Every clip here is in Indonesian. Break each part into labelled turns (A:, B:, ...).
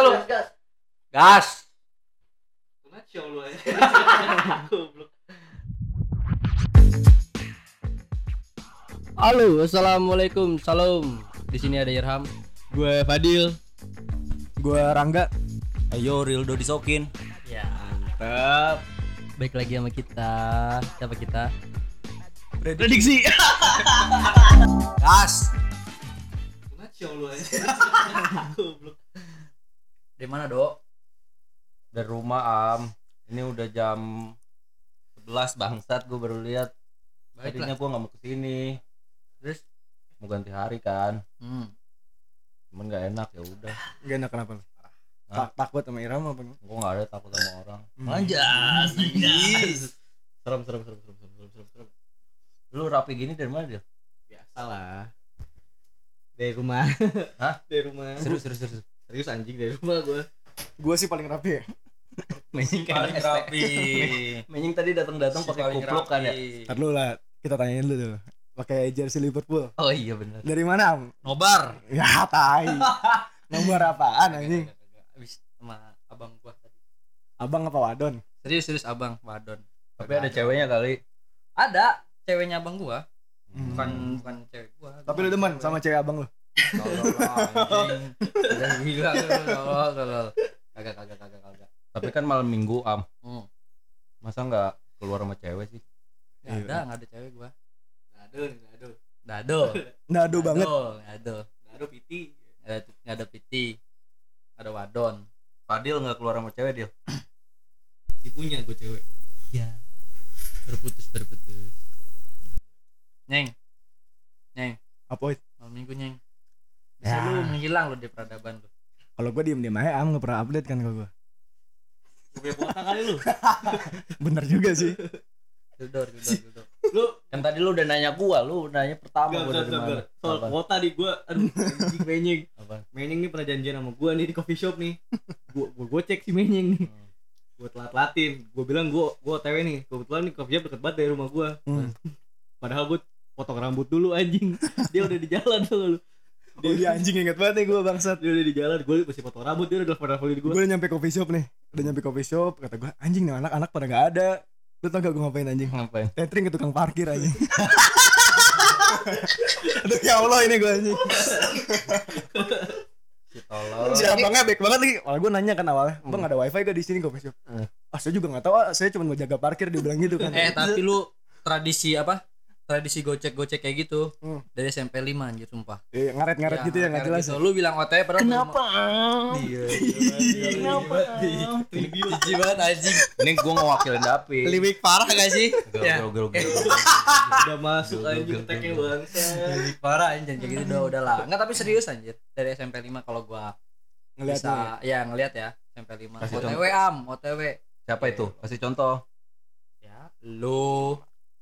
A: gas gas
B: Gas.
A: ngaco lu aja goblok
B: Halo, assalamualaikum, salam. Di sini ada Irham.
C: Gue Fadil.
D: Gue Rangga
E: Ayo Rildo disokin.
B: Ya.
C: Tep.
B: Baik lagi sama kita. Siapa kita?
C: Prediksi.
E: Gas.
A: ngaco lu aja goblok
B: Di mana, Dok?
E: Dari rumah Am. Ini udah jam 11 bangsat gue baru lihat. Tadinya
B: Baiklah.
E: gue nggak mau kesini.
B: Terus
E: Mau ganti hari kan.
B: hmm.
E: Cuman nggak enak ya udah.
D: Gak enak kenapa lu?
E: Hah?
D: Tak- takut sama Iram apa Hmm. nih?
E: Gue nggak ada takut sama orang. Hmm.
C: Anjas. anjas.
E: Serem serem serem serem serem serem serem. Lu rapi gini dari mana dia?
A: biasalah dari rumah
E: Hah?
A: dari rumah
E: Serius serius serius.
A: serius anjing dari rumah gua
D: Gue sih paling rapi ya
B: Menying
E: Paling rapi. Menying tadi datang datang pakai kupluk kan ya.
D: Ntar dulu lah kita tanyain dulu dulu Pakai jersey Liverpool
E: Oh iya benar.
D: Dari mana Am?
C: Nobar.
D: Ya tai Nomor apaan anjing?
B: Abis sama abang gua tadi.
D: Abang apa wadon?
B: Serius serius abang, Wadon.
E: Tapi ada ceweknya kali.
B: Ada ceweknya abang gua,
D: Hmm.
B: bukan
E: Kan
B: bukan cewek gua.
D: Tapi lu demen sama cewek abang lu?
B: Udah gila lu, tolol, tolol. Kagak kagak kagak kagak.
E: Tapi kan malam minggu Am.
B: Hmm.
E: Masa nggak keluar sama cewek sih?
B: Nggak ada, nggak ada cewek gua.
A: nado nih, nado
B: Dado.
D: Nado banget
B: Dado.
A: nado piti
B: Ada nggak ada piti. Ada wadon.
E: Fadil nggak keluar sama cewek dia.
A: dipunya gua cewek
B: Ya. Berputus berputus. Neng,
D: Apa?
B: malam minggu neng. Bisa
D: Ya.
B: lu menghilang lu di peradaban lu.
D: Kalau gue diem-diem aja Am gak pernah update kan kalau gue
A: Gua punya kuota kali lu
D: Bener juga sih
B: Dudor, dudor, dudor.
A: lu
E: Kan tadi lu udah nanya gua, lu nanya pertama
A: enggak
E: gua
A: enggak
E: dari
A: enggak
E: mana.
A: enggak. soal
E: Apa?
A: kuota di gua aduh anjing menying
E: Apa?
A: menying nih pernah janjian sama gua nih di coffee shop nih gua gua, gua cek si menying nih
E: Hmm.
A: gua telat latin gua bilang gua gua otw nih kebetulan nih coffee shop deket banget dari rumah gua
D: Hmm.
A: padahal gua potong rambut dulu anjing dia udah di jalan tuh lu
D: Oh dia anjing inget banget nih gue bangsat
A: dia udah di jalan gue masih potong rambut dia udah telepon teleponin gue
D: Gue udah nyampe coffee shop nih Udah nyampe coffee shop Kata gue anjing nih anak-anak pada gak ada Lu tau gak gue ngapain anjing?
E: Ngapain?
D: Tethering ke tukang parkir aja. Aduh ya Allah ini gue anjing.
E: Si tolol.
D: Si abangnya baik banget lagi. Kalau gue nanya kan awalnya, "Bang ada wifi gak di sini coffee shop?"
E: Hmm.
D: Ah, saya juga gak tahu, ah, saya cuma mau jaga parkir dia bilang gitu kan.
B: Eh, tapi lu tradisi apa? Tradisi gocek-gocek kayak gitu
D: Hmm.
B: dari SMP 5 anjir sumpah.
D: Eh, ngaret-ngaret gitu ya enggak
B: kayak
D: jelas.
B: gitu. Lu bilang OTW padahal Kenapa? Iya. Kenapa? Jijik banget anjing.
E: Ini gua ngewakilin Dapi.
B: Liwik parah gak sih?
E: Gel,
B: Ya.
E: gel, gel, gel.
A: udah
E: Gua-
A: masuk
E: gua-
A: anjing
E: gua-
A: tagnya
E: gua-
A: bangsa
B: Liwik parah anjing kayak gitu udah udah lah. Enggak tapi serius anjir. Dari SMP 5 kalau gua
D: Ngeliat nih.
B: bisa ya ngelihat ya SMP 5.
E: Kasih
B: OTW am, OTW.
E: Siapa itu? Kasih contoh.
B: Ya, lu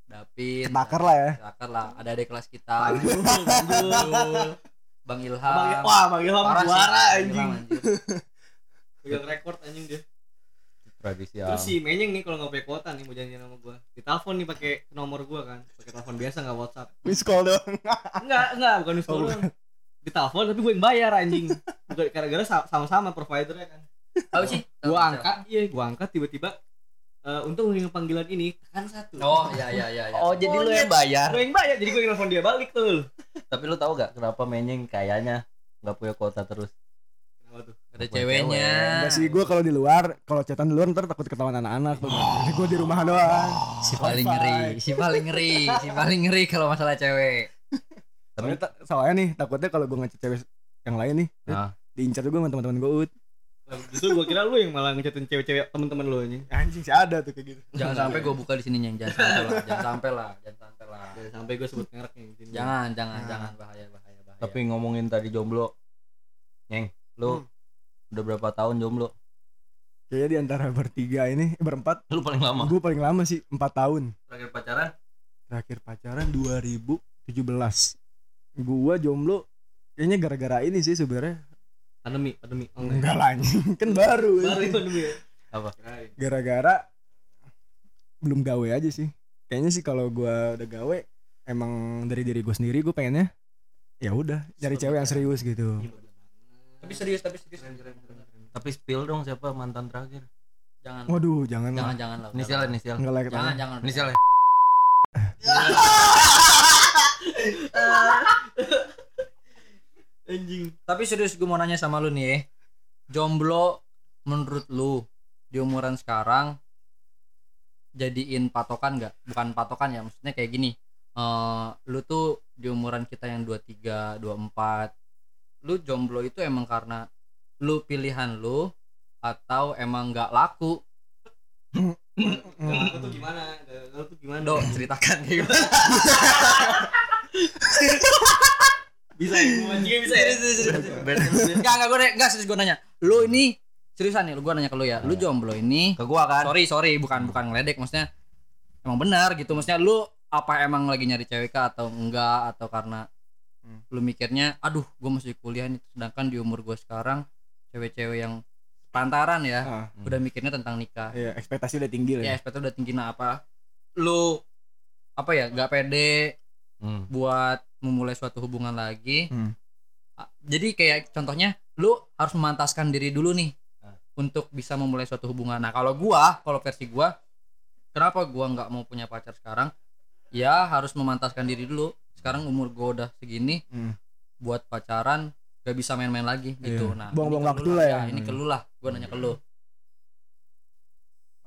B: David
D: Bakar lah ya.
B: Cakar lah, ada adik kelas kita. Bang Ilham.
A: Bang- wah bang Ilham
B: Ah, Parah sih,
A: juara
B: Bang
A: anjing
B: Ilham,
A: pegang rekor anjing dia
E: Tradisi Am.
A: terus si Menyeng nih kalau nggak punya kuota nih mau janjian sama gue ditelepon nih pakai nomor gue kan pakai telepon biasa nggak WhatsApp
D: Miss call doang.
A: enggak enggak bukan di
D: Oh,
A: sekolah ditelepon tapi gue yang bayar anjing Bukan gara-gara sa- sama-sama providernya kan
B: Tahu sih?
A: gue angkat iya gue angkat tiba-tiba eh untung dengan panggilan ini kan satu
B: Oh, iya iya iya iya.
E: Oh, jadi lu yang bayar.
A: gue yang bayar jadi gue yang telepon dia balik tuh
E: Tapi lu tahu gak kenapa menyeng kayaknya nggak punya kuota terus?
A: kenapa tuh
B: ada ceweknya.
D: Enggak sih gue kalau di luar, kalau chatan di luar ntar takut ketahuan anak-anak tuh. Jadi gue di rumah doang.
B: Oh. Si paling ngeri, si paling ngeri, si paling ngeri kalau masalah cewek.
E: Tapi-
D: Soalnya, ta- soalnya nih takutnya kalau gue ngechat cewek yang lain nih, eh,
E: Nah.
D: diincar juga sama teman-teman gue. Ut.
A: Lah, Justru gue kira lu yang malah ngecatin cewek-cewek temen-temen lu anjing.
D: Anjing sih ada tuh kayak gitu.
B: Jangan sampai gue buka di sini, Nyeng. Jangan sampai lah, jangan sampai lah, jangan sampai lah.
A: Jangan sampai gue sebut merek nih. di sini.
B: Jangan,
A: Ah.
B: jangan,
D: Nah.
B: jangan bahaya bahaya bahaya.
E: Tapi ngomongin tadi jomblo. Nyeng, lu udah berapa tahun jomblo?
D: Kayaknya di antara bertiga ini, eh, berempat,
E: Lu paling lama.
D: gue paling lama sih 4 tahun.
E: Terakhir pacaran?
D: terakhir pacaran 2017 gua jomblo kayaknya gara-gara ini sih sebenarnya
A: Pandemi, pandemi. Oh,
D: enggak lah anjing. kan baru ya.
A: Baru ini pandemi ya.
E: Apa?
A: Kirain.
D: gara-gara belum gawe aja sih kayaknya sih kalau gua udah gawe emang dari diri gua sendiri gua pengennya ya udah cari cewek yang serius gitu
A: Gila, bener banget.
B: Tapi serius, tapi serius.
A: Keren, keren, keren, keren.
E: Tapi spill dong siapa mantan terakhir?
B: jangan
D: Waduh, jangan
B: jangan
D: lah.
B: jangan lah udah
E: Inisial
B: lah.
E: inisial.
D: Enggak layak
B: Iya. jangan
D: tanya.
B: jangan
E: Inisial ya.
A: anjing
B: tapi serius gue mau nanya sama lu nih eh. jomblo menurut lu di umuran sekarang jadiin patokan nggak bukan patokan ya maksudnya kayak gini Eh lu tuh di umuran kita yang 23 24 lu jomblo itu emang karena lu pilihan lu atau emang nggak laku
A: Kalau lu tuh gimana Kalau lu tuh gimana
B: do ceritakan kayak gimana
A: bisa ya anjingnya bisa ya
B: Enggak, enggak, gue enggak serius gue nanya. Lu ini seriusan nih, lu gue nanya ke lu ya. Lu jomblo ini.
E: Ke gua kan.
B: Sorry, sorry, bukan bukan ngeledek maksudnya. Emang benar gitu maksudnya lu apa emang lagi nyari cewek kah atau enggak atau karena lu mikirnya aduh gue masih kuliah nih sedangkan di umur gue sekarang cewek-cewek yang pantaran ya
D: Ah,
E: Hmm.
B: udah mikirnya tentang nikah
D: iya, ekspektasi udah tinggi lah.
B: ya SPT udah tinggi nah apa lu apa ya nggak pede
E: Hmm.
B: buat memulai suatu hubungan lagi.
D: Hmm.
B: A- Jadi kayak contohnya lu harus memantaskan diri dulu nih
E: Ah.
B: untuk bisa memulai suatu hubungan. Nah, kalau gua, kalau versi gua, kenapa gua nggak mau punya pacar sekarang? Ya harus memantaskan diri dulu. Sekarang umur gua udah segini
D: Hmm.
B: buat pacaran gak bisa main-main lagi gitu.
D: Iya.
B: Nah,
D: Buang-buang
B: ini ke
D: waktu
B: lu
D: lah ya.
B: Ini ke lu lah, gua nanya ke lu.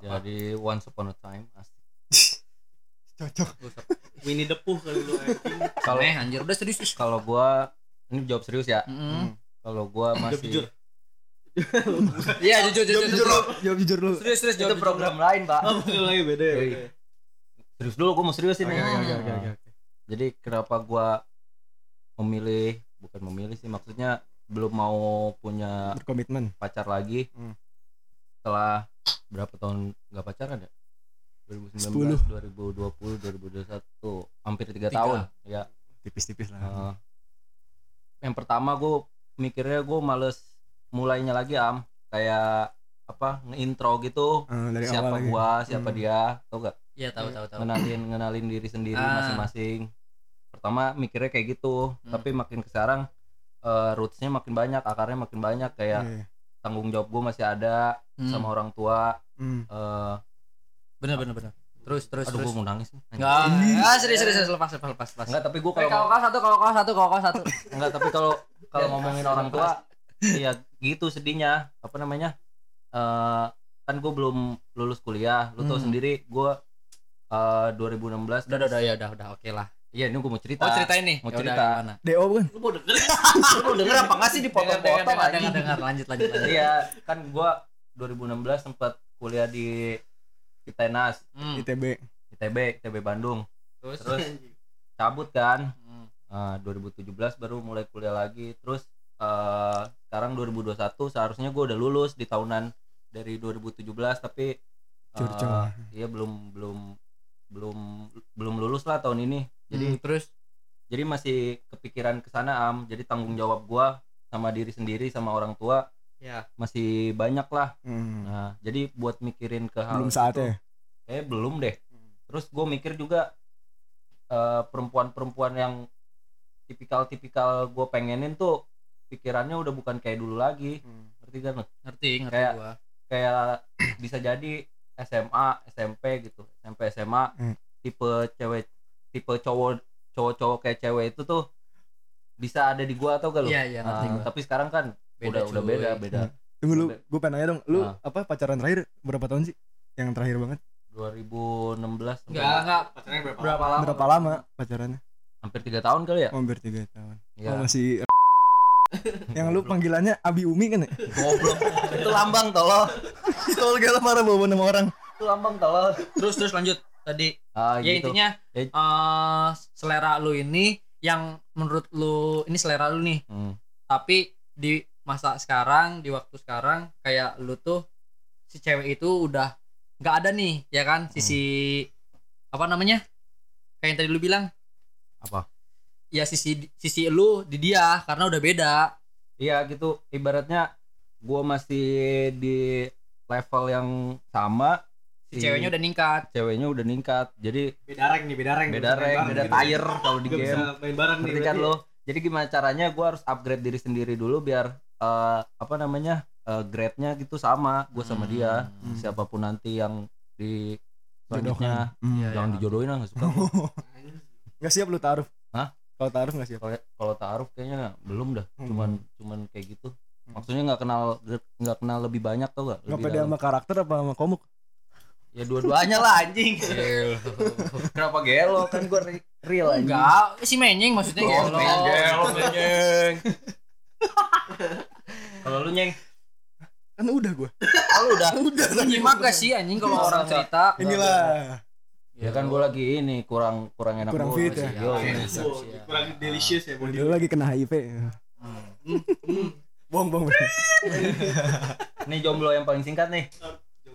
E: Jadi once upon a time. asik.
D: Cocok.
A: Winnie the Pooh kali lu anjing
E: Kalau
B: Eh, anjir udah serius. Ih.
E: kalau gua ini jawab serius ya.
B: Mm-mm.
D: Hmm.
E: Kalau gua
A: Jawab jujur
E: masih
B: Iya, jujur jujur jujur.
D: Jawab jujur lu.
B: Serius serius
E: itu
B: jawab jujur.
E: program lain, Pak.
A: Oh, bukan lagi beda ya.
E: Yoi.
A: beda ya.
E: Serius dulu gua mau serius ini.
B: Oke, oke,
D: oke, oke,
E: Jadi kenapa gua memilih bukan memilih sih maksudnya belum mau punya
D: Berkomitmen.
E: pacar lagi
D: Hmm.
E: setelah berapa tahun nggak pacaran ya 2019 2020 2021 hampir tiga
B: Tiga.
E: tahun ya
D: Tipis-tipis lah.
E: eh, yang pertama gue mikirnya gue males mulainya lagi am kayak apa ngeintro gitu
D: Eh, dari awal
E: siapa
D: lagi.
E: gua siapa
D: Hmm.
E: dia tau gak
B: Iya, tahu tahu tahu.
E: ngenalin ngenalin diri sendiri
B: Ah.
E: masing-masing pertama mikirnya kayak gitu
B: Hmm.
E: tapi makin kesarang eh, rootsnya makin banyak akarnya makin banyak kayak
D: Iya.
E: tanggung jawab gue masih ada
B: Hmm.
E: sama orang tua
D: Hmm.
E: eh
B: Bener bener bener. Terus terus
E: aduh
B: terus.
E: gue mau nangis nih.
B: Enggak. Ah, serius serius serius, lepas lepas lepas lepas.
E: enggak tapi gue
B: Eh, kalau
E: kalau
B: kau satu, kalau kau satu, kalau kau satu.
E: enggak tapi kalau kalau ngomongin orang tua iya gitu sedihnya apa namanya eh kan gue belum lulus kuliah lu tau
B: Hmm.
E: sendiri gue eh 2016
B: Udah, udah, udah, ya udah, udah, oke lah.
E: iya ini gue mau
B: Oh,
E: cerita
B: ceritain nih. Ya
E: Mau
B: udah,
E: cerita.
B: gimana?
D: DO bukan?
A: Lu mau denger
E: lu denger apa nggak sih
B: Dengar,
E: dipotong-potong
B: dengar,
E: aja
B: dengar, dengar, lanjut, lanjut, lanjut.
E: iya kan gue 2016 sempat kuliah di Itenas
B: Hmm,
D: ITB.
E: ITB ITB Bandung
B: terus,
E: terus cabut kan
B: Hmm,
E: Ah, 2017 baru mulai kuliah lagi terus eh, sekarang 2021 seharusnya gue udah lulus di tahunan dari 2017 tapi eh,
D: Curcol.
E: iya belum belum belum belum lulus lah tahun ini jadi
B: hmm, terus,
E: jadi masih kepikiran ke sana am jadi tanggung jawab gua sama diri sendiri sama orang tua
A: Ya.
E: masih banyak lah
D: Hmm.
E: nah jadi buat mikirin ke hal
D: Belum
E: itu,
D: saatnya.
E: eh belum deh terus gue mikir juga eh, perempuan-perempuan yang tipikal-tipikal gue pengenin tuh pikirannya udah bukan kayak dulu lagi
D: Hmm.
E: ngerti kan lu?
B: ngerti, ngerti
E: Kayak-
B: gua.
E: kayak bisa jadi SMA SMP gitu SMP SMA
D: Hmm.
E: tipe cewek tipe cowok cowok-cowok kayak cewek itu tuh bisa ada di gua atau gak lu?
B: Iya, iya, ngerti
E: Ah,
B: gua.
E: tapi sekarang kan udah udah
B: cuy.
E: beda beda.
D: Tunggu lu,
E: Sampai-
D: gue pengen nanya dong. Lu
E: Ah.
D: apa pacaran terakhir berapa tahun sih? Yang terakhir banget.
E: 2016 sampai-
B: Enggak, enggak.
A: pacarnya berapa
B: Berapa
A: lama?
B: lama?
D: Berapa lama pacarannya? Oh,
E: hampir tiga tahun kali ya?
D: Hampir 3 tahun.
E: Iya.
D: Oh, masih yang lu panggilannya Abi Umi kan ya?
E: Goblok. itu lambang tolol.
D: Kalau gak marah bawa nama orang.
E: Itu lambang tolol.
B: Terus, terus, lanjut. Tadi,
E: Ah,
B: ya
E: gitu.
B: intinya,
E: Eh.
B: eh, selera lu ini, yang menurut lu, ini selera lu nih,
E: Hmm.
B: tapi di masa sekarang, di waktu sekarang, kayak lu tuh, si cewek itu udah nggak ada nih, ya kan?
E: Hmm.
B: Sisi, apa namanya? Kayak yang tadi lu bilang,
E: Apa?
B: ya sisi sisi lu di dia karena udah beda
E: Iya gitu ibaratnya gua masih di level yang sama
B: si
E: Iya.
B: ceweknya udah ningkat
E: ceweknya udah ningkat jadi
A: Beda rank nih, beda rank.
E: beda rank beda tire kalau di
A: Gak gitu ya. bisa
E: game
A: main bareng nih.
E: ngerti kan
A: berarti.
E: lo jadi gimana caranya gua harus upgrade diri sendiri dulu biar eh, apa namanya eh, grade-nya gitu sama gue sama
B: Hmm.
E: dia siapapun nanti yang di
D: Jodohkan.
E: selanjutnya
D: Hmm.
B: Iya,
E: jangan
B: iya.
E: dijodohin lah nggak suka gua.
D: Nggak siap lu taruh.
E: Hah?
D: Kalau taruh nggak siap.
E: kalau kalau taruh kayaknya belum dah
D: Hmm.
E: cuman cuman kayak gitu maksudnya nggak kenal nggak kenal lebih banyak tau gak
D: Nggak
E: Lebih
D: pede
E: dalam.
D: sama karakter apa sama komuk?
E: ya dua-duanya lah anjing Iya. kenapa gelo kan gue real anjing
B: Enggak, si menyeng maksudnya ya.
E: Oh,
B: gelo.
E: gelo, anjing. kalau lu nyeng
D: Kan udah
B: Oh,
D: gua.
E: kalau udah
D: Udah
B: Nyimak gak sih anjing kalau
E: Enggak,
B: orang
E: enggak.
B: cerita?
D: Inilah.
E: ya Iya. kan gue lagi ini kurang kurang enak
D: Kurang
E: doang
D: fit ya.
E: sih. Yo,
A: Iya,
E: ini.
A: iya. kurang delicious ya body
D: Dia lagi kena HIV. Hmm, Bohong, bohong.
E: ini jomblo yang paling singkat nih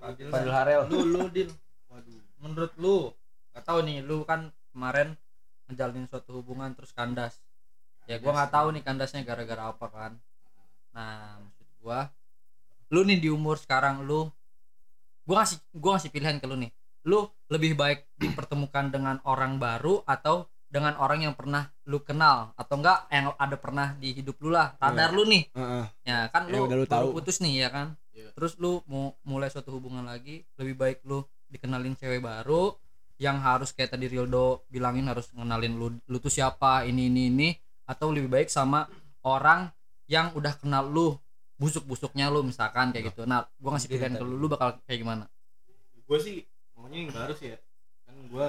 E: Fadil Harel
B: Lu lu Dil. Waduh. Menurut lu, gak tahu nih, lu kan kemarin ngejalanin suatu hubungan terus kandas. Ya gua nggak tahu nih kandasnya gara-gara apa kan. Nah, maksud gua lu nih di umur sekarang lu gua ngasih gua ngasih pilihan ke lu nih. Lu lebih baik dipertemukan dengan orang baru atau dengan orang yang pernah lu kenal atau enggak yang ada pernah di hidup lu lah radar lu nih
D: Heeh.
B: ya kan
D: Ya
B: lu,
D: udah lu
B: baru
D: tahu.
B: putus nih ya kan
A: Iya.
B: terus lu mau mulai suatu hubungan lagi lebih baik lu dikenalin cewek baru yang harus kayak tadi Rildo bilangin harus ngenalin lu lu tuh siapa ini ini ini atau lebih baik sama orang yang udah kenal lu busuk-busuknya lu misalkan kayak gitu nah gua ngasih pilihan ke lu lu bakal kayak gimana
A: gue sih maunya yang baru sih ya kan gue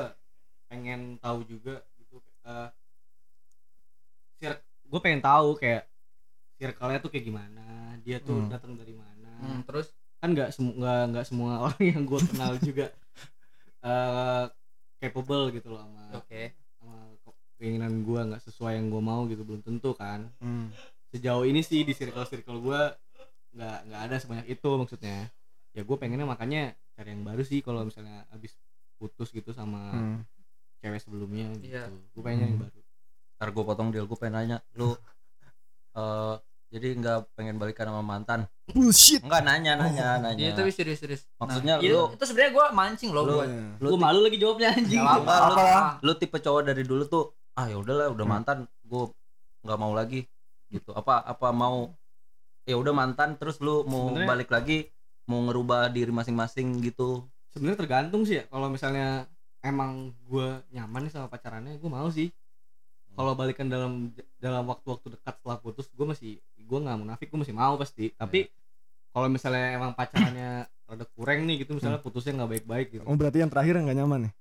A: pengen tahu juga gitu eh sir gue pengen tahu kayak circle-nya tuh kayak gimana dia tuh
D: Hmm.
A: datang dari mana
B: Hmm, terus
A: kan nggak semua nggak nggak semua orang yang gue kenal juga eh capable gitu loh sama
B: oke
A: sama ke- keinginan gue nggak sesuai yang gue mau gitu belum tentu kan
D: Hmm.
A: sejauh ini sih di circle circle gue nggak nggak ada sebanyak itu maksudnya ya gue pengennya makanya cari yang baru sih kalau misalnya abis putus gitu sama
D: Hmm.
A: cewek sebelumnya gitu
B: Iya.
A: gue pengennya yang
D: Hmm.
A: baru
E: ntar gue potong deal gue pengen nanya lu eh jadi nggak pengen balikan sama mantan
D: Bullshit.
E: Enggak nanya nanya
B: Iya,
E: nanya
B: tapi serius-serius
E: Maksudnya
B: itu,
E: lu-
B: iya. itu sebenarnya gua mancing loh
E: Lu-
B: Oh, gua
E: Lu
A: gue malu lagi jawabnya anjing
B: Gak apa-apa,
E: Apa
B: lu-
E: lah? lu tipe cowok dari dulu tuh ah ya udahlah udah
D: Hmm.
E: mantan gue nggak mau lagi gitu apa apa mau ya udah mantan terus lu mau
A: Sebenarnya-
E: balik lagi mau ngerubah diri masing-masing gitu
A: sebenarnya tergantung sih ya kalau misalnya emang gue nyaman nih sama pacarannya gue mau sih kalau balikan dalam dalam waktu-waktu dekat setelah putus gue masih gue nggak munafik gue masih mau pasti tapi kalau misalnya emang pacarannya rada kurang nih gitu misalnya putusnya nggak baik-baik gitu
D: Oh berarti yang terakhir nggak nyaman nih?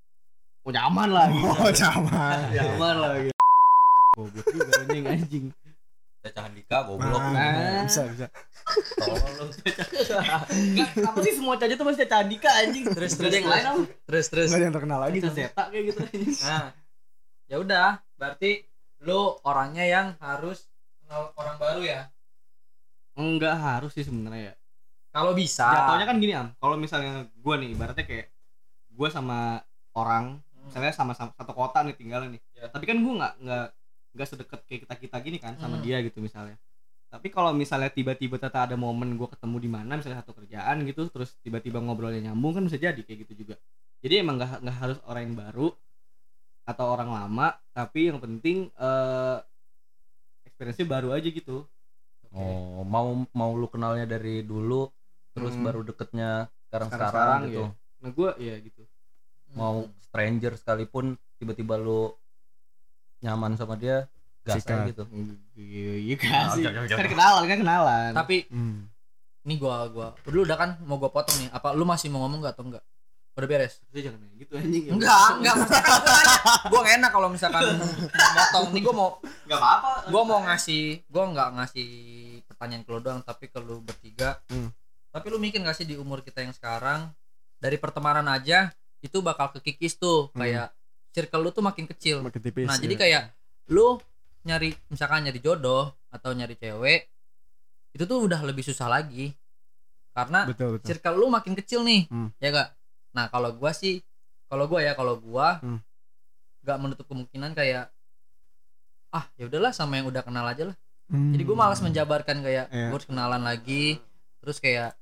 A: oh nyaman lah gitu
D: Oh nyaman.
A: nyaman lah gitu goblok juga anjing anjing
E: cacahan dika
D: Ah.
A: Nah.
D: Bisa bisa.
A: Enggak, kenapa sih semua caca tuh masih caca Andika anjing
B: Terus,
A: Nggak ada yang
B: terus,
A: lain apa
B: terus terus ya.
D: Nggak ada yang terkenal lagi.
A: caca zeta kayak gitu anjing
B: Nah, ya udah, berarti lu orangnya yang harus kenal orang baru ya.
A: enggak harus sih sebenarnya ya
B: Kalau bisa.
A: jatuhnya kan gini am kalau misalnya gue nih ibaratnya kayak gue sama orang
B: Hmm.
A: misalnya sama, sama satu kota nih tinggalnya nih
B: Ya.
A: tapi kan gue nggak nggak nggak sedekat kayak kita kita gini kan sama
B: Hmm.
A: dia gitu misalnya tapi kalau misalnya tiba-tiba tata ada momen gue ketemu di mana misalnya satu kerjaan gitu terus tiba-tiba ngobrolnya nyambung kan bisa jadi kayak gitu juga jadi emang nggak nggak harus orang yang baru atau orang lama tapi yang penting eh experience baru aja gitu
E: oh mau mau lu kenalnya dari dulu terus
D: Hmm.
E: baru deketnya sekarang sekarang,
A: Sekarang-sekarang,
E: gitu
A: iya. nah gue ya gitu
E: mau stranger sekalipun tiba-tiba lu nyaman sama dia gas
D: Sikat.
E: aja gitu
A: Iya kasih.
E: jangan, jangan.
A: Kan kenalan, kan kenalan.
B: Tapi
D: Hmm.
B: ini gua gua lu udah kan mau gua potong nih. Apa lu masih mau ngomong gak atau enggak? Udah beres?
A: Tapi jangan kayak gitu anjing. ya.
B: Enggak, enggak maksudnya kan gua nanya. Gua nggak enak kalau misalkan mau motong. Nih gua mau
A: Enggak apa-apa.
B: gua mau ngasih gua nggak ngasih pertanyaan ke lu doang tapi ke lu bertiga.
D: Hmm.
B: Tapi lu mikir gak sih di umur kita yang sekarang dari pertemanan aja itu bakal kekikis tuh
D: Hmm.
B: kayak circle lu tuh makin kecil.
D: Makin tipis.
B: Nah, jadi
D: ya.
B: kayak lu nyari misalkan nyari jodoh atau nyari cewek itu tuh udah lebih susah lagi. Karena
D: betul betul.
B: circle lu makin kecil nih,
D: Hmm.
B: ya gak? Nah, kalau gua sih kalau gua ya kalau gua
D: Hmm.
B: gak menutup kemungkinan kayak ah ya udahlah sama yang udah kenal aja lah.
D: Hmm.
B: Jadi gua malas menjabarkan kayak
D: Iya.
B: gua harus kenalan lagi terus kayak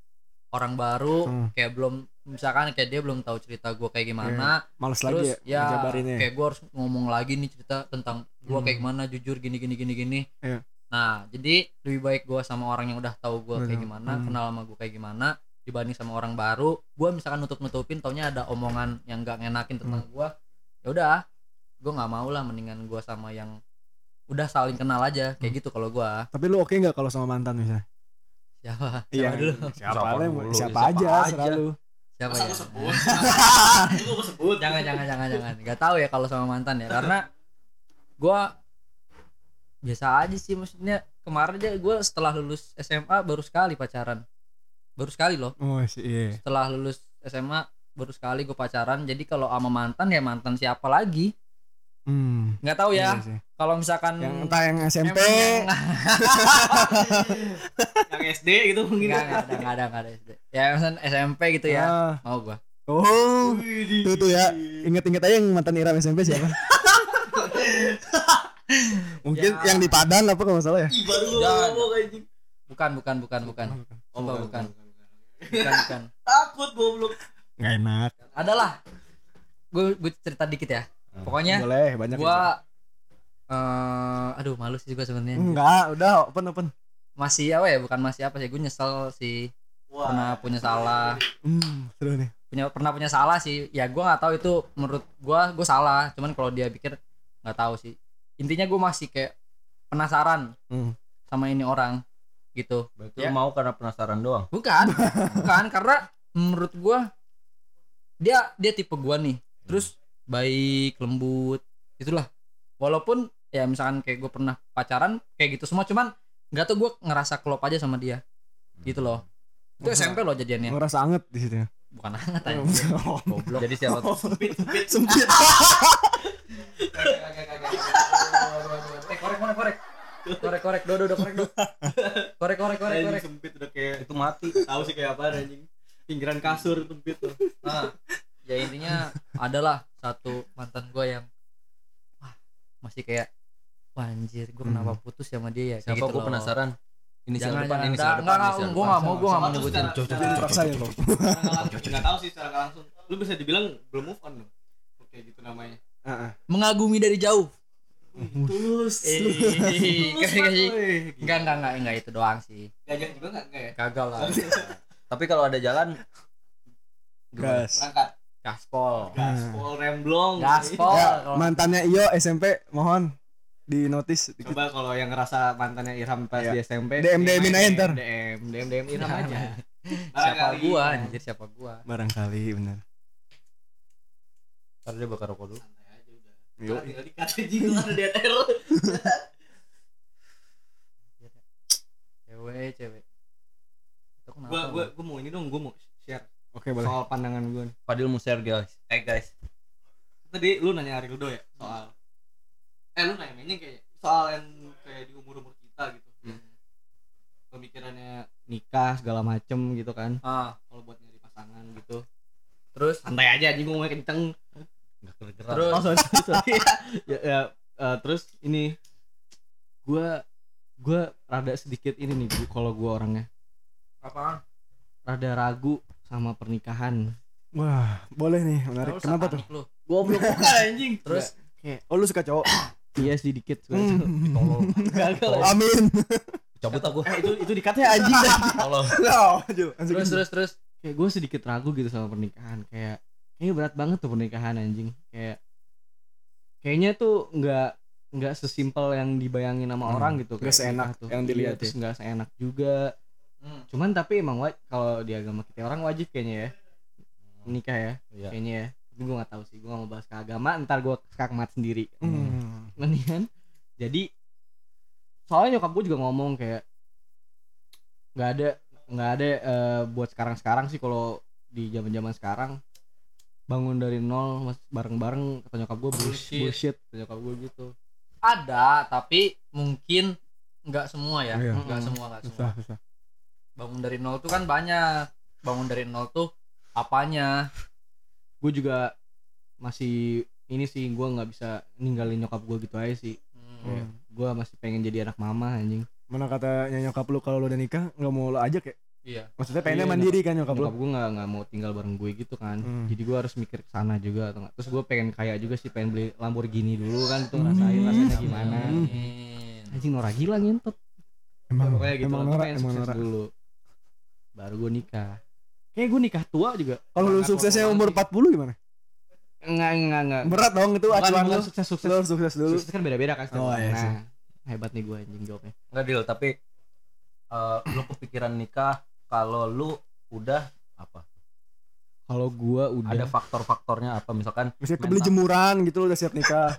B: orang baru
D: Hmm.
B: kayak belum misalkan kayak dia belum tahu cerita gua kayak
D: Iya.
B: gimana
D: Malas lagi
B: terus
D: ya.
B: ya
D: Jabarinnya.
B: kayak gue harus ngomong lagi nih cerita tentang gue
D: Hmm.
B: kayak gimana jujur gini gini gini gini
D: Iya.
B: Nah, jadi lebih baik gua sama orang yang udah tahu gua kayak
D: Benar.
B: gimana,
D: Hmm.
B: kenal sama gua kayak gimana dibanding sama orang baru. Gua misalkan nutup-nutupin taunya ada omongan yang gak ngenakin tentang
D: Hmm.
B: gua. Ya udah, gua nggak mau lah mendingan gua sama yang udah saling kenal aja
D: Hmm.
B: kayak gitu kalau gua.
D: Tapi lu oke nggak kalau sama mantan misalnya?
B: Siapa?
D: Iya.
B: Siapa dulu?
D: Siapa,
E: Siapa
D: aja,
E: dulu,
D: siapa,
E: siapa
D: aja,
E: aja.
D: selalu.
B: Siapa
F: Masa
B: ya?
F: gua sebut? Itu gua sebut.
B: jangan jangan jangan jangan nggak tahu ya kalau sama mantan ya karena gua biasa aja sih maksudnya kemarin aja gua setelah lulus SMA baru sekali pacaran baru sekali loh
D: Oh sih, iya.
B: setelah lulus SMA baru sekali gue pacaran jadi kalau sama mantan ya mantan siapa lagi
D: Hmm.
B: nggak tahu
D: iya
B: ya
D: sih.
B: kalau misalkan
D: Yang entah yang SMP.
B: emang yang-
A: yang SD gitu mungkin
B: nggak nggak ada nggak ada nggak ada SD. ya misalkan SMP gitu ya
D: Ah.
B: mau gua
D: Oh. Tuh tuh ya. Ingat-ingat aja yang mantan Iram SMP siapa? Mungkin
B: Ya.
D: yang di Padan apa kalau nggak salah ya?
F: Ih, baru gua
B: Jangan.
F: ngomong anjing.
B: bukan bukan bukan bukan oh bukan bukan bukan, bukan.
F: Takut goblok.
D: Nggak enak.
B: adalah gue gue cerita dikit ya pokoknya
D: Boleh banyak.
B: gua eh aduh malu sih juga
D: ya.
B: sebenarnya
D: Enggak, udah open open.
B: masih apa ya bukan masih apa sih gue nyesel sih
F: Wah.
B: pernah punya salah
D: Hmm, seru nih.
B: punya pernah punya salah sih ya gue nggak tahu itu menurut gue gue salah cuman kalau dia pikir nggak tahu sih intinya gue masih kayak penasaran
D: Hmm.
B: sama ini orang gitu
E: Berarti
B: Ya.
E: lu mau karena penasaran doang.
B: bukan bukan karena menurut gue dia dia tipe gue nih terus baik lembut itulah walaupun ya misalkan kayak gue pernah pacaran kayak gitu semua cuman nggak tau gue ngerasa klop aja sama dia gitu loh itu
D: Wah.
B: SMP loh jadiannya
D: Ngerasa anget di situ. ya.
B: bukan hangat aja
D: Oh,
B: goblok
E: Jadi siapa tuh?
D: Sempit.
B: Eh, korek korek korek korek korek do do do korek do korek korek korek
A: Anjing
B: korek
A: sempit udah kayak
E: Itu mati.
A: tahu sih kayak apa anjing pinggiran kasur sempit tuh
B: Nah, ya intinya adalah satu mantan gue yang wah, masih kayak wah anjir gue kenapa putus sama dia ya Kayak
E: Hmm. Siapa
B: gitu
E: gua
B: loh.
E: penasaran. Ini
B: jangan
E: depan,
B: jangan
E: ini
B: enggak
E: depan,
B: enggak enggak gue nggak mau
E: Oh,
B: gue nggak mau
A: Soalnya
B: nyebutin
A: secara- secara-
D: Jangan dipaksain loh.
A: secara nggak langsung- nggak tahu sih secara nggak langsung lu bisa dibilang belum move on dong kayak gitu namanya
B: mengagumi dari jauh
A: tulus
B: enggak
E: Iya.
A: Gak
B: enggak enggak enggak itu doang sih
A: Gajah juga nggak enggak ya
B: gagal lah
E: Tapi kalau ada jalan
D: Gas. Hmm.
A: berangkat
B: gaspol
A: gaspol remblong Iya.
B: gaspol
D: Ya,
B: kalau-
D: mantannya Iyo SMP mohon di notis dikit.
A: coba kalau yang ngerasa mantannya Irham pas
D: Iya.
A: di SMP
D: DM,
A: DM,
D: DM-in aja ntar.
A: DM DM DM Irham
B: Jangan.
A: aja
B: siapa
A: Barangkali. ya.
B: gua anjir siapa gua
D: Barangkali benar.
E: Ntar dia bakar rokok dulu.
A: Santai aja udah.
D: Yuk.
A: Tinggal dikat aja, nggak ada DTR.
B: cewek cewek itu kenapa
A: gua gua
B: lu?
A: gua mau ini dong gua mau share
D: Oke, boleh.
A: soal pandangan gua nih
E: Fadil mau share guys. Eh guys.
A: tadi lu nanya Arildo ya soal eh lu nanya Menying kayaknya soal yang kayak di umur umur kita gitu pemikirannya nikah segala macem gitu kan
B: ah
A: kalau buat nyari pasangan gitu
B: terus
A: santai aja anjing gua ngomongnya kenceng
E: Enggak kedengeran.
B: terus
A: oh sorry sorry ya, ya, eh, terus ini gua gua rada sedikit ini nih Bu, kalau gua orangnya
B: apaan
A: rada ragu sama pernikahan
D: Wah, boleh nih,
B: Lu
D: menarik. Kenapa tuh?
B: satanik lu.
A: goblok bukan anjing
B: terus
D: Oh, lu suka cowok?
A: iya sedikit
D: Hmm.
E: Tolong.
A: gagal
D: Amin.
E: Cabut aku.
A: eh, itu itu dikatnya anjing
E: Tolong.
D: Loh, aduh, langsung
B: terus terus terus
A: kayak gue sedikit ragu gitu sama pernikahan kayak kayaknya berat banget tuh pernikahan anjing kayak kayaknya tuh nggak nggak sesimpel yang dibayangin
D: Hmm,
A: sama orang gitu
D: nggak
A: kayak
D: seenak
A: nikah
D: yang
A: Iya,
D: dilihat ya.
A: terus nggak seenak juga
B: Hmm.
A: cuman tapi emang wa- kalau di agama kita orang wajib kayaknya ya nikah ya
E: Iya.
A: kayaknya ya tapi gue nggak tahu sih gue nggak mau bahas ke agama ntar gue skakmat sendiri
D: Hmm.
A: mendingan jadi soalnya nyokap gue juga ngomong kayak nggak ada nggak ada eh, buat sekarang sekarang sih kalau di zaman zaman sekarang bangun dari nol bareng bareng kata nyokap gue bullshit,
B: Bullshit.
A: bullshit kata nyokap gue gitu
B: ada tapi mungkin nggak semua ya
D: Iya.
B: nggak
A: Mm-mm.
B: semua nggak semua
D: Susah, susah.
B: bangun dari nol tuh kan banyak bangun dari nol tuh apanya
A: gue juga masih ini sih gue nggak bisa ninggalin nyokap gue gitu aja sih
B: Hmm.
D: Iya.
A: Kayak gue masih pengen jadi anak mama anjing
D: Mana kata nyokap lu kalau lu udah nikah nggak mau lu ajak ya?
B: iya
D: Maksudnya
A: Iya,
D: pengennya
A: nyokap-
D: mandiri kan nyokap lu?
A: nyokap gue nggak nggak mau tinggal bareng gue gitu kan
D: Hmm.
A: jadi gue harus mikir ke sana juga atau nggak. terus gue pengen kaya juga
D: Hmm.
A: sih pengen beli Lamborghini dulu kan tuh ngerasain rasanya gimana
B: Amin.
A: anjing Nora gila ngentot
D: emang
A: Pokoknya gitu
D: emang
A: lah,
D: norak
A: pokoknya
D: emang
A: sukses
D: norak
A: dulu baru gue nikah kayak gue nikah tua juga
D: kalau lu
A: Sangat
D: suksesnya umur
A: normal sih.
D: 40 gimana
A: enggak enggak enggak
D: berat dong itu
A: bukan,
D: acuan
A: bukan
D: lu
A: sukses sukses
D: lu harus sukses dulu
A: sukses kan beda beda kan setiap
D: Oh,
A: orang.
D: iya sih.
A: nah hebat nih gue anjing jawabnya
E: Enggak deal, tapi eh, lu kepikiran nikah kalau lu udah apa?
A: kalau gue udah
E: Ada faktor-faktornya apa misalkan
D: misalnya kebeli
E: mental.
D: jemuran gitu lu udah siap nikah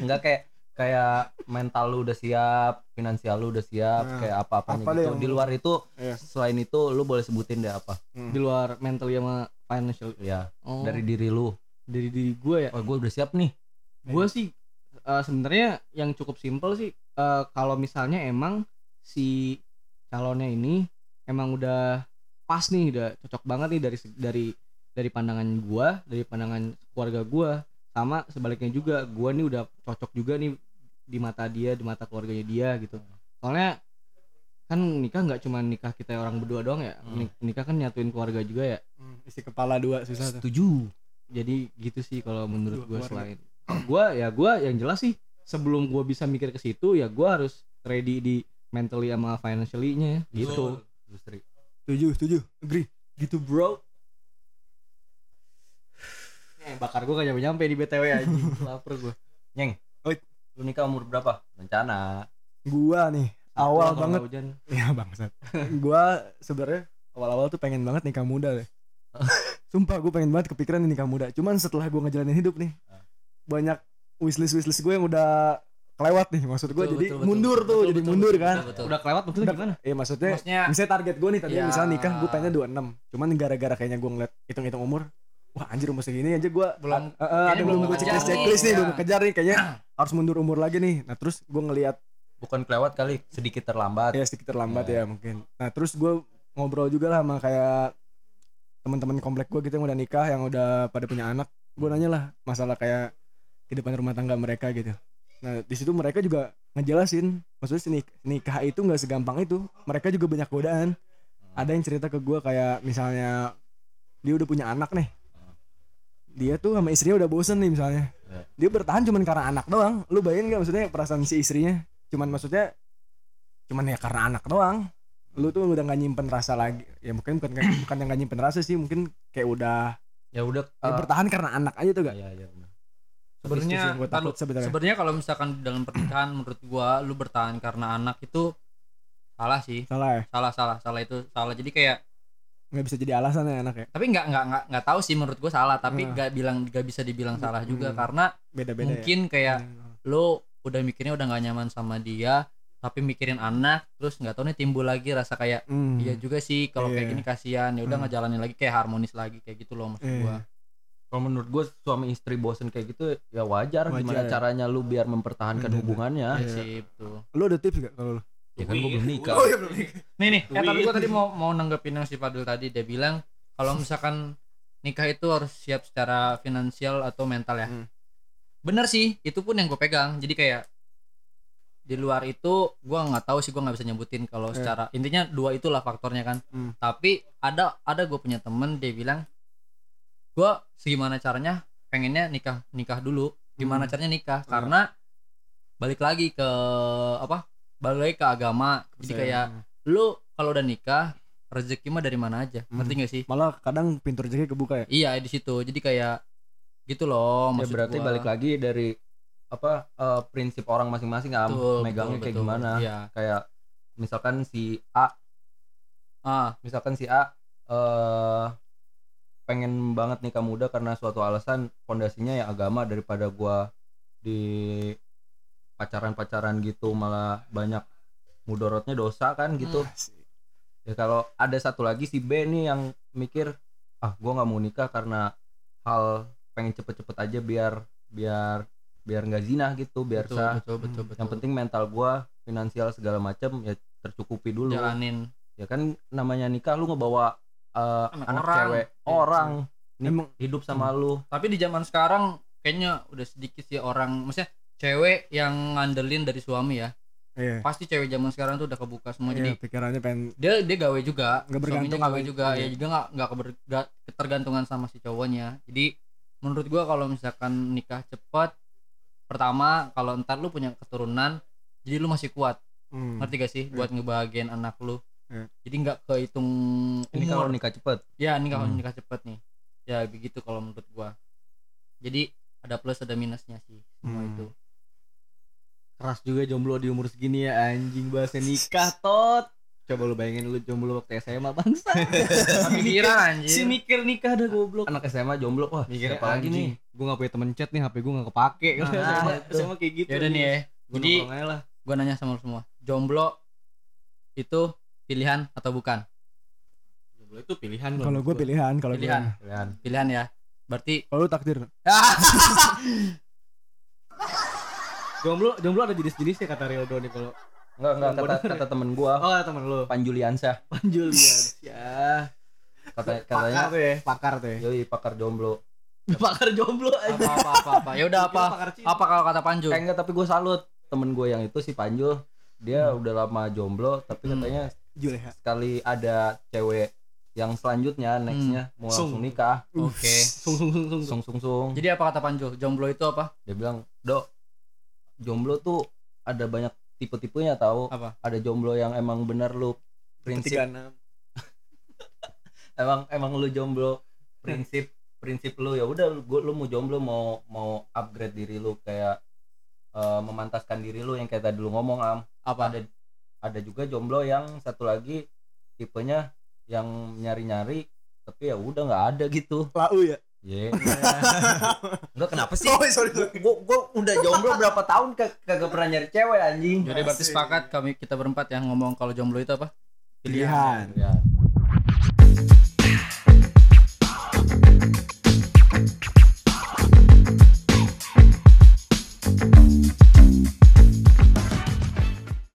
E: enggak kayak kayak mental lu udah siap, finansial lu udah siap,
D: Nah,
E: kayak apa-apanya
D: apa deh
E: gitu.
D: yang-
E: Di luar itu
D: Iya.
E: selain itu lu boleh sebutin deh apa?
A: di luar mental sama financial
E: Ya,
A: oh,
E: dari
A: dari
E: diri lu.
A: dari diri gue ya
E: Oh, gue udah siap nih.
A: gue sih eh, sebenarnya yang cukup simpel sih eh, kalau misalnya emang si calonnya ini emang udah pas nih udah cocok banget nih dari se- dari dari pandangan gue dari pandangan keluarga gue sama sebaliknya juga gue nih udah cocok juga nih di mata dia di mata keluarganya dia gitu soalnya kan nikah nggak cuma nikah kita orang berdua doang ya
E: Hmm.
A: nikah kan nyatuin keluarga juga ya
D: Hmm, isi kepala dua susah tuh
E: Setuju.
A: jadi gitu sih kalau menurut
D: Dua
A: gue
D: keluarga.
A: selain gue ya gue yang jelas sih sebelum gue bisa mikir ke situ ya gue harus ready di mentally sama financially-nya gitu
E: Justru.
D: tujuh tujuh agree
A: gitu bro eh, bakar gue gak nyampe nyampe di btw aja lapar gue
E: Lu nikah umur berapa? Rencana.
D: gua nih awal banget
A: hujan.
D: ya bangsat gua sebenarnya awal-awal tuh pengen banget nikah muda deh sumpah gue pengen banget kepikiran nih nikah muda cuman setelah gua ngejalanin hidup nih banyak wishlist wishlist gue yang udah kelewat nih maksud gue
B: Betul,
D: jadi
B: betul, betul.
D: mundur
B: Betul,
D: tuh
B: betul,
D: jadi
B: betul,
D: mundur
B: betul,
D: kan
B: betul, betul.
A: udah kelewat maksudnya
D: Udah-
A: gimana
D: Iya maksudnya
B: maksudnya
D: misalnya target gue nih tadi
B: Ya.
D: misalnya nikah gue pengennya 26 cuman gara-gara kayaknya gue ngeliat hitung-hitung umur wah anjir umur segini aja gue
B: Belum-
D: Eh, eh, ada
B: kayaknya
D: belum
B: belum
D: gue
B: kejar
D: checklist
B: nih,
D: checklist nih
B: ya.
D: belum kejar nih kayaknya harus mundur umur lagi nih nah terus gue ngeliat
E: Bukan kelewat kali, sedikit terlambat.
D: ya sedikit terlambat ya mungkin nah terus gue ngobrol juga lah sama kayak teman-teman komplek gue gitu yang udah nikah yang udah pada punya anak gue nanya lah masalah kayak kehidupan rumah tangga mereka gitu nah di situ mereka juga ngejelasin maksudnya si nik- nikah itu nggak segampang itu mereka juga banyak godaan ada yang cerita ke gue kayak misalnya dia udah punya anak nih dia tuh sama istrinya udah bosen nih misalnya
E: Ya.
D: dia bertahan cuman karena anak doang lu bayangin gak maksudnya perasaan si istrinya cuman maksudnya cuman ya karena anak doang lu tuh udah gak nyimpen rasa lagi ya mungkin bukan bukan yang gak nyimpen rasa sih mungkin kayak udah
E: Ya udah.
D: ya
E: eh,
D: bertahan karena anak aja tuh gak
E: ya, ya, benar.
B: sebenarnya
D: Itu sih yang gue
B: ntar
D: takut
B: lu-
D: sebenarnya
B: sebenarnya kalau misalkan dalam pernikahan menurut gua lu bertahan karena anak itu salah sih
D: salah ya
B: salah salah salah itu salah jadi kayak
D: nggak bisa jadi alasan ya anak ya
B: tapi nggak nggak nggak nggak tahu sih menurut gua salah tapi
D: Hmm.
B: nggak bilang nggak bisa dibilang salah juga
D: Hmm.
B: karena
D: beda beda
B: mungkin
D: ya.
B: kayak lo udah mikirnya udah nggak nyaman sama dia tapi mikirin anak terus nggak tahu nih timbul lagi rasa kayak
D: Hmm.
B: iya juga sih kalau kayak
D: Iya.
B: gini kasihan ya udah
D: Hmm.
B: ngejalanin lagi kayak harmonis lagi kayak gitu loh maksud
D: Iya.
B: gua
E: Kalau menurut gue suami istri bosen kayak gitu ya wajar,
D: Wajar,
E: gimana
D: ya. caranya
E: caranya lu biar mempertahankan
D: Bener.
B: Iya
E: hubungannya.
D: Iya.
B: sih betul
D: lu ada tips gak kalau lu
E: Ya kan gue
B: Iya.
E: belum nikah.
B: Oh, nih nih eh, tapi gua tadi mau mau nanggepin yang si Padul tadi dia bilang kalau misalkan nikah itu harus siap secara finansial atau mental ya
D: Hmm.
B: bener sih itu pun yang gue pegang jadi kayak di luar itu gua nggak tahu sih gua nggak bisa nyebutin kalau
D: Eh.
B: secara intinya dua itulah faktornya kan
D: Hmm.
B: tapi ada ada gue punya temen dia bilang gua segimana caranya pengennya nikah nikah dulu gimana
D: Hmm.
B: caranya nikah
D: Hmm.
B: karena balik lagi ke apa balik lagi ke agama jadi
D: Saya-
B: kayak lu kalau udah nikah rezeki mah dari mana aja
D: Hmm.
B: ngerti gak sih
D: malah kadang pintu rezeki kebuka ya
B: iya di situ jadi kayak gitu loh
E: Ya
B: maksud
E: berarti
B: gua.
E: balik lagi dari apa eh, prinsip orang masing-masing am
B: Betul,
E: megangnya
B: betul,
E: kayak
B: betul.
E: gimana.
B: iya
E: Kayak misalkan si A,
B: ah
E: misalkan si A eh pengen banget nikah muda karena suatu alasan fondasinya ya agama daripada gua di pacaran-pacaran gitu malah banyak mudorotnya dosa kan gitu. ya kalau ada satu lagi si B nih yang mikir ah gua nggak mau nikah karena hal pengen cepet-cepet aja biar biar biar nggak zina gitu biar
B: betul,
E: sah
B: betul betul betul
E: yang penting mental gua finansial segala macam ya tercukupi dulu
B: jalanin
E: ya kan namanya nikah lu ngebawa eh,
B: Anak
E: anak,
B: orang.
E: cewek
A: Iya,
E: orang Nih,
D: emang
E: hidup sama lu
B: tapi di zaman sekarang kayaknya udah sedikit sih orang maksudnya cewek yang ngandelin dari suami ya
D: iya
B: pasti cewek zaman sekarang tuh udah kebuka semua jadi
D: Iya, pikirannya pengen
B: dia dia gawe juga suaminya
D: Nggak bergantung
B: gawe
D: sama-
B: juga
D: iya.
B: ya juga nggak nggak keber- nggak ketergantungan sama si cowoknya jadi menurut gua kalau misalkan nikah cepat pertama kalau ntar lu punya keturunan jadi lu masih kuat
D: Hmm.
B: ngerti gak sih buat ngebahagiain anak lu
D: Hmm.
B: jadi nggak kehitung
E: ini
B: umur.
E: kalau nikah cepet
B: ya ini kalau
D: Hmm.
B: nikah cepet nih ya begitu kalau menurut gua jadi ada plus ada minusnya sih semua
D: Hmm.
B: itu
A: keras juga jomblo di umur segini ya anjing bahasa nikah tot coba lu bayangin lu jomblo waktu SMA bangsa
B: pikiran anjir
A: si mikir nikah dah goblok
E: Iya. anak SMA jomblo wah
A: mikir
E: siapa lagi nih
A: gue gak punya temen chat nih HP gue gak kepake
B: Nah,
E: Ah,
A: Kalau
B: nah,
A: SMA,
B: itu.
A: SMA kayak gitu
B: ya udah nih ya
A: Gua
B: Jadi-
A: nongkrong aja lah.
B: gua nanya sama lu semua jomblo itu pilihan atau bukan
A: jomblo itu pilihan gua.
D: Kalau gue pilihan, kalau gue.
B: pilihan
E: Kalian.
B: pilihan ya berarti
D: Kalau lu takdir.
A: jomblo jomblo ada jenis-jenisnya kata Rildo nih kalau
E: enggak enggak kata kata temen gua
A: oh temen lu
E: Panjuliansyah
A: Panjulian ya
E: kata
A: pakar
E: katanya
A: tuh ya pakar tuh ya
E: yoi pakar jomblo
A: pakar jomblo aja
B: apa apa apa, apa. ya udah apa
A: pakar cinta.
B: apa kalau kata Panju
E: kayak Eh, enggak tapi gua salut temen gua yang itu si Panjul dia udah lama jomblo tapi
B: Hmm.
E: katanya
D: Juleha.
E: sekali ada cewek yang selanjutnya nextnya mau langsung nikah
B: oke
A: sung sung sung sung
E: sung sung sung
B: jadi apa kata Panju jomblo itu apa
E: dia bilang dok jomblo tuh ada banyak tipe-tipenya tahu
B: Apa?
E: ada jomblo yang emang bener lu prinsip emang emang lu jomblo prinsip prinsip lu ya udah lu, gua- lu mau jomblo mau mau upgrade diri lu kayak eh, memantaskan diri lu yang kayak tadi lu ngomong am
B: apa
E: ada ada juga jomblo yang satu lagi tipenya yang nyari-nyari tapi ya udah nggak ada gitu
D: Lau ya.
E: Ye. Enggak kenapa sih? Iya. Gua, gua udah jomblo berapa tahun kag- kagak pernah nyari cewek anjing.
B: jadi berarti sepakat kami kita ya,
E: Iya.
B: berempat yang ngomong kalau jomblo itu apa
D: Pilihan.
E: Ya.